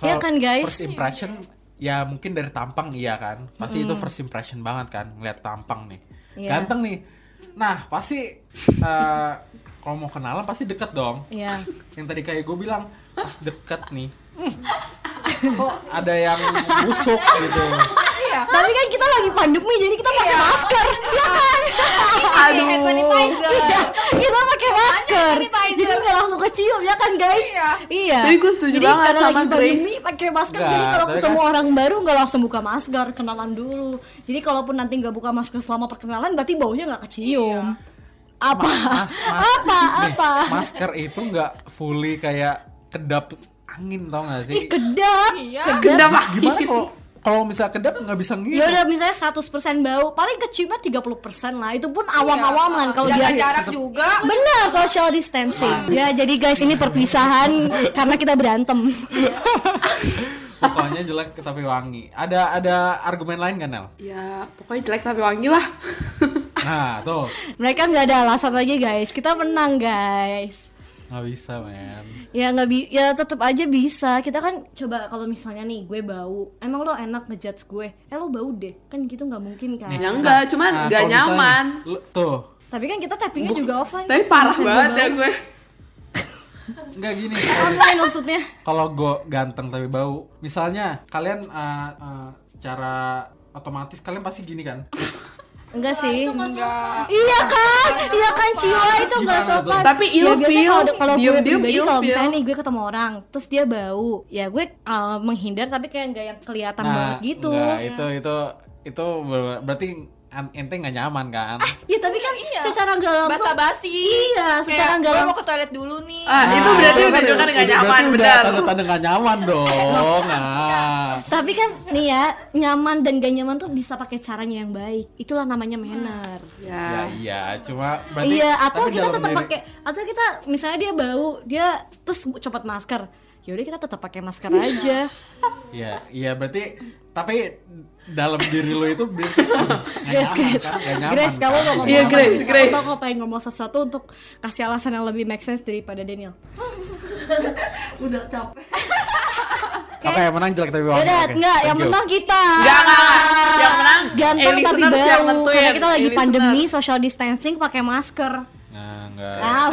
Speaker 2: Iya kan, guys?
Speaker 1: first impression ya mungkin dari tampang iya kan pasti itu first impression banget kan ngeliat tampang nih
Speaker 2: Mm. Iya.
Speaker 1: ganteng nih nah pasti eh, kalau mau kenalan pasti deket dong
Speaker 2: Iya.
Speaker 1: yang tadi kayak gue bilang pas deket nih hmm, kok ada yang busuk gitu
Speaker 3: ya?
Speaker 2: Tapi kan kita lagi pandemi jadi kita pakai
Speaker 3: Iya.
Speaker 2: masker, ya kan?
Speaker 3: Aduh. Iya, Hand sanitizer.
Speaker 2: Iya, kita pakai masker. Jadi nggak langsung kecium ya kan guys?
Speaker 3: Iya.
Speaker 2: Iya.
Speaker 6: Tapi gue setuju
Speaker 2: Jadi
Speaker 6: banget
Speaker 2: karena
Speaker 6: sama
Speaker 2: lagi
Speaker 6: Grace.
Speaker 2: pandemi, pakai masker jadi
Speaker 1: Nggak,
Speaker 2: kalau
Speaker 1: tapi
Speaker 2: ketemu
Speaker 1: kan-
Speaker 2: orang baru nggak langsung buka masker, kenalan dulu. Jadi kalaupun nanti nggak buka masker selama perkenalan berarti baunya nggak kecium.
Speaker 3: Iya.
Speaker 2: Apa?
Speaker 1: Mas, mas,
Speaker 2: apa? Apa?
Speaker 1: masker itu nggak fully kayak kedap angin tau gak
Speaker 2: Ih,
Speaker 1: sih?
Speaker 2: kedap.
Speaker 3: Iya.
Speaker 2: Kedap.
Speaker 6: Kedap
Speaker 1: Gimana kalau kalau misal kedap nggak bisa
Speaker 2: Ya
Speaker 1: ngirim?
Speaker 2: udah misalnya 100% bau, paling keciumnya 30% lah. Itu pun
Speaker 3: Iya.
Speaker 2: awam-awaman kalau
Speaker 3: Jaga
Speaker 2: dia
Speaker 3: jarak juga.
Speaker 2: Bener, social distancing. Ya, jadi guys ini perpisahan karena kita berantem.
Speaker 1: Pokoknya jelek tapi wangi. Ada ada argumen lain kan Nel?
Speaker 6: Ya pokoknya jelek tapi wangi lah
Speaker 1: Nah tuh
Speaker 2: Mereka nggak ada alasan lagi guys. Kita menang guys.
Speaker 1: nggak bisa men.
Speaker 2: Ya nggak bi ya tetap aja bisa. Kita kan coba kalau misalnya nih gue bau, emang lo enak ngejudge gue? Eh lo bau deh, kan gitu nggak mungkin kan?
Speaker 6: Ya enggak, cuman
Speaker 1: Nah, kalau
Speaker 6: enggak
Speaker 1: misalnya
Speaker 6: nyaman
Speaker 1: nih, lu- tuh
Speaker 2: Tapi kan kita tappingnya juga offline.
Speaker 6: Tapi
Speaker 2: kan,
Speaker 6: parah
Speaker 2: kalau misalnya
Speaker 6: banget
Speaker 2: bau.
Speaker 6: ya gue
Speaker 1: nggak gini. kalau mis-
Speaker 2: Online maksudnya.
Speaker 1: Kalau gue ganteng tapi bau, misalnya kalian eh, eh, secara otomatis kalian pasti gini kan?
Speaker 2: Enggak sih.
Speaker 3: Enggak.
Speaker 2: Iya kan, iya kan Ciwa itu
Speaker 1: Terus
Speaker 2: nggak
Speaker 1: gimana tuh?
Speaker 2: sopan.
Speaker 6: Tapi
Speaker 2: Ya,
Speaker 6: ill
Speaker 2: biasanya
Speaker 6: feel,
Speaker 2: kalau- kalau gue
Speaker 6: diem-diem
Speaker 2: pribadi
Speaker 6: ill
Speaker 2: kalau
Speaker 6: feel.
Speaker 2: misalnya nih gue ketemu orang, terus dia bau, ya gue uh, menghindar tapi kayak nggak yang kelihatan banget gitu.
Speaker 1: Nah, nggak, iya. itu itu itu ber- berarti an- ente nggak nyaman kan?
Speaker 2: Ya tapi kan secara nggak langsung
Speaker 3: Iya. Basa-basi.
Speaker 2: Iya, secara
Speaker 3: Kayak,
Speaker 2: nggak
Speaker 3: gue mau
Speaker 2: langsung.
Speaker 3: ke toilet dulu nih. Iya.
Speaker 6: Ah, Itu
Speaker 1: Nah,
Speaker 6: berarti udah juga nggak nyaman, benar
Speaker 1: Tanda-tanda nggak nyaman dong. Nah,
Speaker 2: Tapi kan nih ya, nyaman dan gak nyaman tuh bisa pakai caranya yang baik. Itulah namanya manner.
Speaker 1: ya
Speaker 6: Ya
Speaker 1: iya, cuma berarti
Speaker 2: Iya, atau
Speaker 1: tapi
Speaker 2: kita
Speaker 1: dalam
Speaker 2: tetap
Speaker 1: diri-
Speaker 2: pakai atau kita misalnya dia bau, dia terus copot masker. Yaudah kita tetap pakai masker aja.
Speaker 1: Iya, iya berarti tapi dalam diri lo itu berarti nggak
Speaker 2: Grace,
Speaker 1: nyaman
Speaker 2: Grace,
Speaker 1: kan? Nggak nyaman
Speaker 2: Grace,
Speaker 1: kan?
Speaker 2: kamu mau ngomong
Speaker 6: Iya,
Speaker 2: apa?
Speaker 6: Grace,
Speaker 2: Atau
Speaker 6: Grace.
Speaker 2: kamu pengen ngomong sesuatu untuk kasih alasan yang lebih make sense daripada Daniel.
Speaker 5: udah capek
Speaker 1: Oke, yang menang jelek tapi wangi.
Speaker 2: Yaudah,
Speaker 1: Oh, oke.
Speaker 2: enggak,
Speaker 1: Thank
Speaker 2: yang
Speaker 1: you.
Speaker 2: menang kita.
Speaker 6: Enggak, enggak, enggak. Yang menang,
Speaker 2: Ganteng
Speaker 6: eh,
Speaker 2: tapi
Speaker 6: listeners
Speaker 2: bau.
Speaker 6: yang nentuin.
Speaker 2: Karena kita lagi
Speaker 6: Eh,
Speaker 2: pandemi, social distancing, pakai masker.
Speaker 1: Nah, enggak.
Speaker 2: Ah,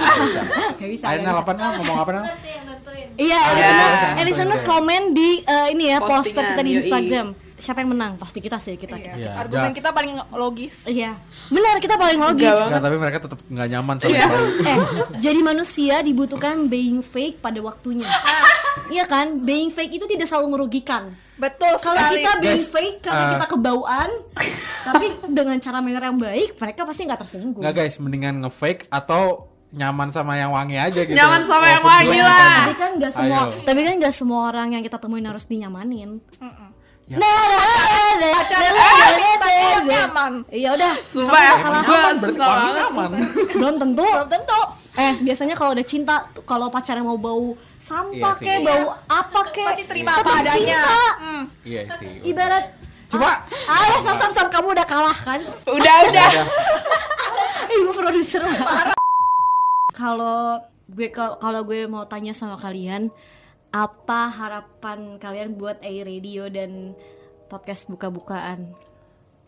Speaker 2: gak bisa.
Speaker 1: Ayo
Speaker 2: nggak
Speaker 1: Nel,
Speaker 2: bisa.
Speaker 1: apa Nel? ngomong apa Nel?
Speaker 4: Terus yang nentuin.
Speaker 2: Iya,
Speaker 1: Ah,
Speaker 2: Eliseners,
Speaker 1: iya, iya.
Speaker 2: Eliseners
Speaker 1: Iya.
Speaker 2: komen di eh, ini ya poster
Speaker 6: Postingan,
Speaker 2: kita di
Speaker 6: yoi.
Speaker 2: Instagram. Siapa yang menang? Pasti kita sih, kita. kita.
Speaker 1: Iya,
Speaker 3: Argumen
Speaker 1: enggak.
Speaker 3: kita paling logis.
Speaker 2: Iya, benar kita paling logis.
Speaker 1: Enggak, tapi mereka tetap nggak nyaman sama
Speaker 6: Iya.
Speaker 1: bau.
Speaker 2: eh jadi manusia dibutuhkan being fake pada waktunya iya kan being fake itu tidak selalu merugikan
Speaker 3: Betul
Speaker 2: kalau
Speaker 3: sekali.
Speaker 2: kita being
Speaker 1: Guys,
Speaker 2: fake karena
Speaker 1: eh.
Speaker 2: kita kebauan tapi dengan cara manner yang baik mereka pasti nggak tersinggung
Speaker 1: Enggak guys, mendingan nge-fake atau nyaman sama yang wangi aja gitu.
Speaker 6: Nyaman sama yang
Speaker 1: Walaupun
Speaker 6: wangi
Speaker 1: jelek,
Speaker 6: lah.
Speaker 2: tapi kan nggak
Speaker 1: Ah,
Speaker 2: semua
Speaker 1: Ayo. Eh,
Speaker 2: tapi kan nggak semua orang yang kita temuin harus dinyamanin
Speaker 1: Ya.
Speaker 2: Nah, nah, nah, nah, nah, nah,
Speaker 3: Pacaran eh,
Speaker 2: nah, nah,
Speaker 3: pacaran
Speaker 2: nah.
Speaker 3: nyaman.
Speaker 2: Iya udah,
Speaker 6: Sumpah ya, gue
Speaker 1: Berarti
Speaker 6: susah
Speaker 1: wangi
Speaker 6: banget
Speaker 1: nyaman.
Speaker 2: belum tentu. Belum tentu. Eh, biasanya kalau udah cinta, tuh, kalau pacaran mau bau
Speaker 1: Iya
Speaker 2: sampah
Speaker 1: sih.
Speaker 2: kek, bau apa kek,
Speaker 3: Iya. Pasti terima
Speaker 2: tetap
Speaker 3: apa adanya.
Speaker 2: cinta.
Speaker 1: Iya sih.
Speaker 2: ibarat
Speaker 1: Cuma-
Speaker 2: ah, ah, udah sam sam sam kamu udah kalah kan
Speaker 6: Udah, udah
Speaker 2: ibu produser kalau gue ka- kalau gue mau tanya sama kalian apa harapan kalian buat AI Radio dan podcast buka-bukaan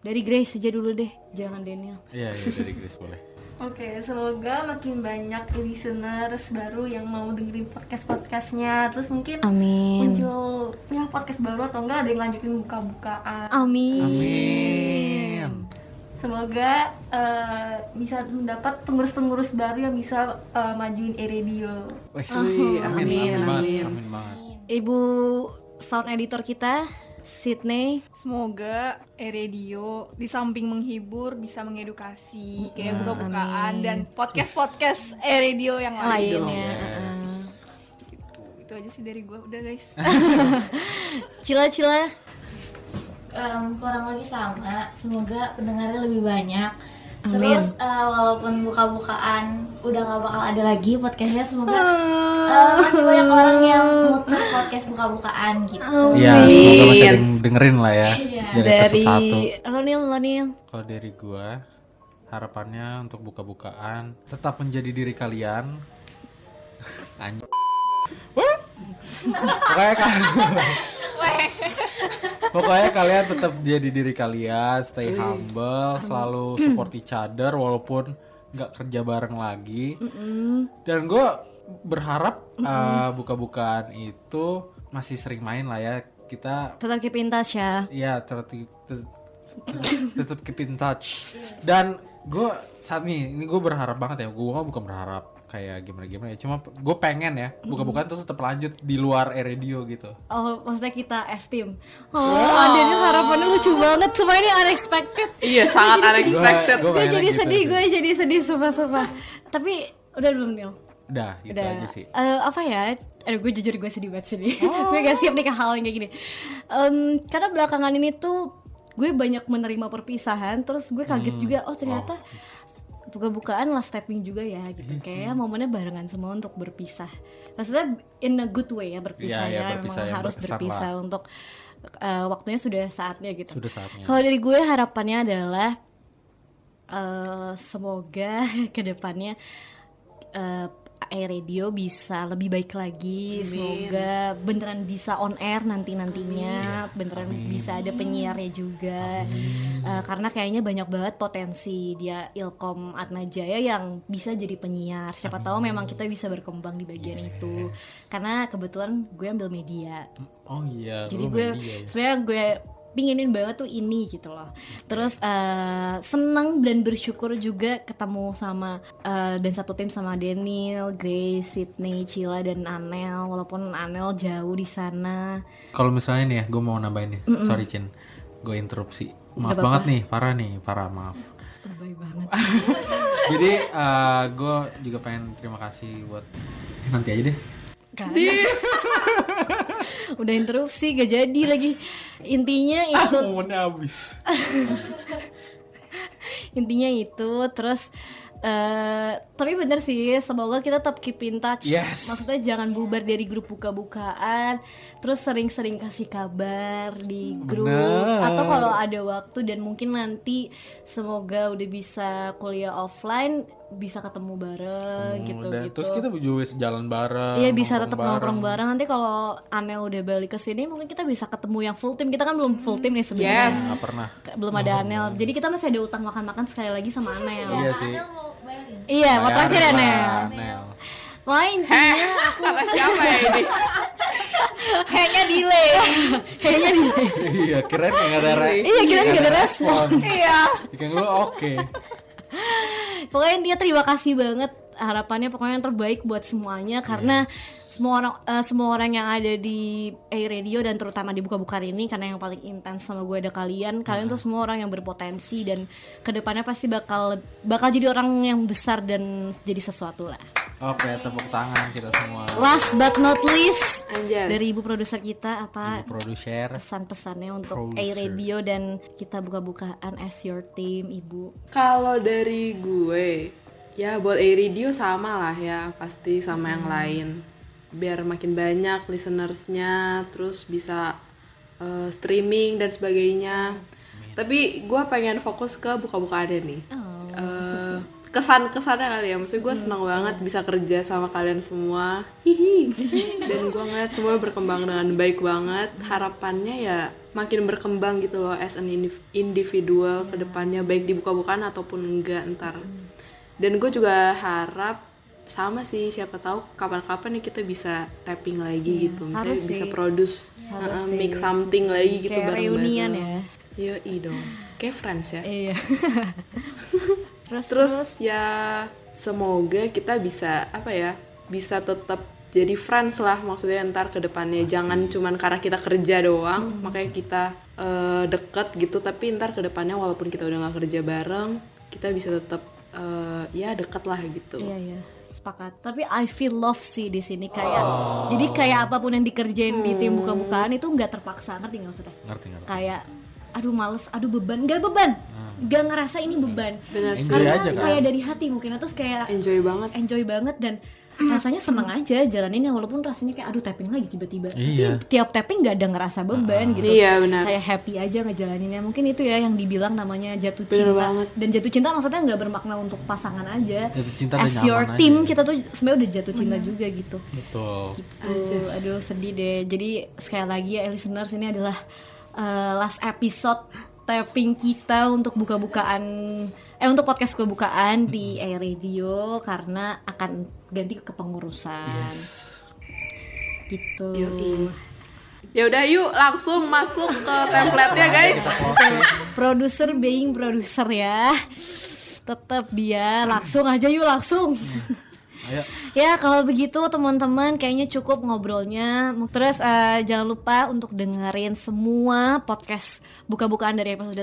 Speaker 2: dari Grace aja dulu deh jangan Daniel
Speaker 1: Iya, iya dari Grace boleh.
Speaker 5: Oke, semoga makin banyak listeners baru yang mau dengerin podcast-podcastnya Terus mungkin
Speaker 2: Amin.
Speaker 5: muncul ya podcast baru atau enggak ada yang lanjutin buka-bukaan
Speaker 2: Amin,
Speaker 1: Amin.
Speaker 5: Semoga eh, bisa mendapat pengurus-pengurus baru yang bisa eh, majuin E-Radio
Speaker 1: Wes. Amin,
Speaker 6: Wih,
Speaker 1: amin,
Speaker 6: amin,
Speaker 1: banget,
Speaker 6: amin
Speaker 1: amin banget.
Speaker 2: Ibu sound editor kita Sydney
Speaker 3: Semoga E-Radio di samping menghibur bisa
Speaker 6: Nah,
Speaker 3: mengedukasi kayak buka-bukaan dan podcast-podcast E-Radio yang
Speaker 2: Ah,
Speaker 3: lain.
Speaker 2: lainnya iya.
Speaker 3: Gitu. Itu aja sih dari gua udah guys.
Speaker 2: cila-cila
Speaker 4: Em, kurang lebih sama. Semoga pendengarnya lebih banyak.
Speaker 2: Amin.
Speaker 4: Terus eh, walaupun buka-bukaan udah gak bakal ada lagi podcastnya, semoga eh, masih banyak orang yang muter podcast buka-bukaan gitu.
Speaker 1: Iya, semoga masih ada yang dengerin lah ya. Dari episode
Speaker 2: dari
Speaker 1: satu.
Speaker 2: Lonil Lonil
Speaker 1: Kalau dari gua harapannya untuk buka-bukaan tetap menjadi diri kalian. Anjing. Wah. Pokoknya kalian Pokoknya kalian tetap jadi diri kalian, stay humble, selalu support each other walaupun nggak kerja bareng lagi. Dan gue berharap eh, buka-bukaan itu masih sering main lah ya kita
Speaker 2: Tetap keep in touch ya.
Speaker 1: ya tetap tetap keep in touch dan gue saat nih ini gue berharap banget ya gue bukan berharap kayak gimana gimana ya cuma gue pengen ya buka-bukaan terus tetap lanjut di luar radio gitu
Speaker 2: Oh, maksudnya kita esteem. Oh, Daniel harapannya lucu banget. Semua ini unexpected.
Speaker 6: Iya, sangat unexpected.
Speaker 1: Gua
Speaker 2: Gue
Speaker 1: pengennya
Speaker 2: jadi
Speaker 1: gitu
Speaker 2: sedih,
Speaker 1: sih.
Speaker 2: gue jadi sedih, sumpah-sumpah. Tapi udah belum, Nil?
Speaker 1: udah gitu
Speaker 2: udah
Speaker 1: aja sih Oh.
Speaker 2: Eh, apa ya aduh gue jujur gue sedih banget sini gue gak siap nih ke hal yang kayak gini Em, karena belakangan ini tuh gue banyak menerima perpisahan terus gue kaget
Speaker 1: Hmm.
Speaker 2: juga oh ternyata
Speaker 1: Oh.
Speaker 2: buka-bukaan last stepping juga ya gitu
Speaker 1: Hmm,
Speaker 2: kayak momennya barengan semua untuk berpisah maksudnya in a good way ya
Speaker 1: Iya,
Speaker 2: berpisah
Speaker 1: iya,
Speaker 2: ya,
Speaker 1: berpisah
Speaker 2: memang
Speaker 1: yang
Speaker 2: harus
Speaker 1: berkesan
Speaker 2: berpisah untuk eh, waktunya sudah saatnya gitu
Speaker 1: sudah saatnya
Speaker 2: kalau dari gue harapannya adalah eh, semoga kedepannya eh Radio bisa lebih baik lagi. Semoga beneran bisa on air nanti nantinya, beneran bisa ada penyiarnya juga. Eh, karena kayaknya banyak banget potensi dia Ilkom Atma Jaya yang bisa jadi penyiar. Siapa tahu memang kita bisa berkembang di bagian itu. Karena kebetulan gue ambil media
Speaker 1: oh iya
Speaker 2: jadi
Speaker 1: lu
Speaker 2: gue
Speaker 1: media ya.
Speaker 2: sebenarnya gue pinginin banget tuh ini gitu loh terus eh, senang dan bersyukur juga ketemu sama eh, dan satu tim sama Daniel, Grace, Sydney, Cila dan Anel walaupun Anel jauh di sana
Speaker 1: Kalau misalnya nih ya, gue mau nambahin nih. Sorry Cin, gue interupsi. Maaf
Speaker 2: apa-apa.
Speaker 1: banget nih, parah nih, parah maaf.
Speaker 2: terbaik banget
Speaker 1: Jadi eh, gue juga pengen terima kasih buat Eh, nanti aja deh.
Speaker 2: Kan? udah interupsi gak jadi lagi intinya itu
Speaker 1: Momennya habis.
Speaker 2: intinya itu terus eh tapi bener sih semoga kita tetap keep in touch
Speaker 1: Yes.
Speaker 2: maksudnya jangan bubar dari grup buka-bukaan terus sering-sering kasih kabar di grup
Speaker 1: Bener.
Speaker 2: atau kalau ada waktu dan mungkin nanti semoga udah bisa kuliah offline bisa ketemu bareng gitu
Speaker 1: Dan
Speaker 2: gitu
Speaker 1: Hmm, Terus kita juga bisa jalan bareng.
Speaker 2: Iya bisa tetap nongkrong bareng nanti kalau Anel udah balik ke sini mungkin kita bisa ketemu yang full tim kita kan belum full tim nih sebenarnya
Speaker 6: Yes.
Speaker 1: Nggak pernah.
Speaker 2: Ke- belum ada Anel jadi kita masih ada utang makan-makan sekali lagi sama Anel
Speaker 1: Iya sih.
Speaker 4: Anel mau bayarin
Speaker 2: Iya, mau terakhir ya, Nel.
Speaker 1: Bayar lah, Nel.
Speaker 2: Wah,
Speaker 6: Eh,
Speaker 2: intinya
Speaker 6: kata siapa ya ini?
Speaker 2: kayaknya delay. kayaknya delay.
Speaker 1: Iya, keren nggak ada re.
Speaker 2: Iya, kira nggak ada respon.
Speaker 3: Iya.
Speaker 1: Ikan lu oke.
Speaker 2: Pokoknya intinya terima kasih banget. Harapannya pokoknya yang terbaik buat semuanya karena semua orang eh, semua orang yang ada di A Radio dan terutama di buka-bukaan ini karena yang paling intens sama gue ada kalian. Kalian tuh semua orang yang berpotensi dan kedepannya pasti bakal bakal jadi orang yang besar dan jadi sesuatu lah.
Speaker 1: Oke, tepuk tangan kita semua.
Speaker 2: Last but not least
Speaker 6: Anjas.
Speaker 2: dari ibu produser kita apa
Speaker 1: Produser.
Speaker 2: pesan-pesannya untuk A
Speaker 1: Producer.
Speaker 2: Radio dan kita buka-bukaan as your team ibu
Speaker 6: Kalau dari gue, ya buat A-Radio sama lah ya, pasti sama yang lain. Biar makin banyak listenersnya, terus bisa eh, streaming dan sebagainya. Tapi gue pengen fokus ke buka-bukaannya nih. Eh, kesan-kesannya kali ya, maksudnya
Speaker 2: Hmm.
Speaker 6: gue senang banget bisa kerja sama kalian semua. Hihi. Dan gue ngeliat semua berkembang dengan baik banget.
Speaker 2: Hmm.
Speaker 6: Harapannya ya makin berkembang gitu loh as an indiv- individual
Speaker 2: Hmm.
Speaker 6: ke depannya baik dibuka-bukaan ataupun enggak ntar. Dan gue juga harap sama sih siapa tahu kapan-kapan nih kita bisa tapping lagi gitu misalnya
Speaker 2: Iya, harus
Speaker 6: bisa
Speaker 2: sih.
Speaker 6: produce uh, make something lagi gitu
Speaker 2: Kayak reunian
Speaker 6: bareng-bareng
Speaker 2: ya.
Speaker 6: Iya, dong. Kayak friends ya.
Speaker 2: iya terus
Speaker 6: Terus ya semoga kita bisa apa ya? Bisa tetap jadi friends lah maksudnya ntar ke depannya jangan cuman karena kita kerja doang makanya kita eh, deket gitu tapi ntar ke depannya walaupun kita udah nggak kerja bareng kita bisa tetap eh, ya deket lah gitu
Speaker 2: iya iya sepakat tapi I feel love sih di sini kayak
Speaker 6: Oh.
Speaker 2: jadi kayak apapun yang dikerjain di
Speaker 6: Hmm.
Speaker 2: tim buka-bukaan itu nggak terpaksa ngerti nggak maksudnya
Speaker 1: Ngerti ngerti.
Speaker 2: kayak aduh males aduh beban gak beban gak ngerasa ini beban
Speaker 6: Bener sih.
Speaker 1: Hmm. Enjoy
Speaker 2: karena
Speaker 1: aja kan.
Speaker 2: kayak dari hati mungkin terus kayak
Speaker 6: enjoy banget
Speaker 2: enjoy banget dan rasanya seneng aja jalaninnya walaupun rasanya kayak aduh tapping lagi tiba-tiba
Speaker 1: Iya.
Speaker 2: Tapi tiap tapping nggak ada ngerasa beban gitu
Speaker 6: Iya, benar.
Speaker 2: kayak happy aja ngejalaninnya mungkin itu ya yang dibilang namanya jatuh
Speaker 6: Bener
Speaker 2: cinta
Speaker 6: banget.
Speaker 2: dan jatuh cinta maksudnya nggak bermakna untuk pasangan aja
Speaker 1: Jatuh cinta dan
Speaker 2: as
Speaker 1: nyaman
Speaker 2: your
Speaker 1: aja. ya.
Speaker 2: team kita tuh sebenarnya udah jatuh cinta juga gitu
Speaker 1: Betul.
Speaker 2: gitu aduh sedih deh jadi sekali lagi ya listeners ini adalah eh, last episode tapping kita untuk buka-bukaan eh untuk podcast buka-bukaan di Air Radio karena akan ganti kepengurusan
Speaker 1: Yes.
Speaker 2: gitu
Speaker 6: Yoi. Ya udah yuk langsung masuk ke template-nya guys.
Speaker 2: Produser being produser ya. Tetap dia langsung aja yuk langsung.
Speaker 1: Iya. Ayo.
Speaker 2: Ya kalau begitu teman-teman kayaknya cukup ngobrolnya Terus eh, jangan lupa untuk dengerin semua podcast buka-bukaan dari episode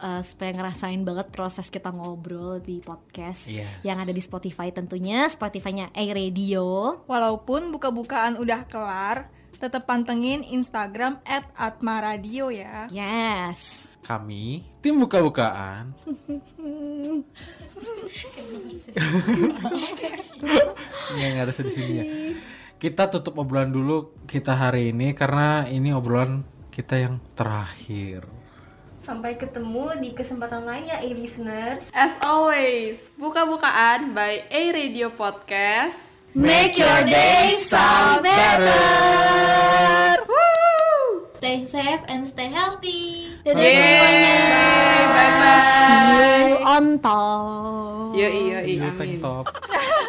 Speaker 2: 1 eh, Supaya ngerasain banget proses kita ngobrol di podcast
Speaker 1: Yes.
Speaker 2: Yang ada di Spotify tentunya Spotify-nya iRadio
Speaker 3: Walaupun buka-bukaan udah kelar, tetap pantengin Instagram @atmaradio ya.
Speaker 2: Yes
Speaker 1: Kami tim buka-bukaan Nggak nggak ada di sini ya. Kita tutup obrolan dulu kita hari ini karena ini obrolan kita yang terakhir.
Speaker 5: Sampai ketemu di kesempatan lain ya, e-listeners.
Speaker 6: As always, buka-bukaan by A Radio Podcast.
Speaker 2: Make your day sound better
Speaker 4: Stay safe and stay healthy.
Speaker 2: Dadah semuanya
Speaker 6: Bye bye.
Speaker 2: 네. See you on top
Speaker 6: Yo yo
Speaker 1: Yo, tank
Speaker 6: Iya, amin.
Speaker 1: top.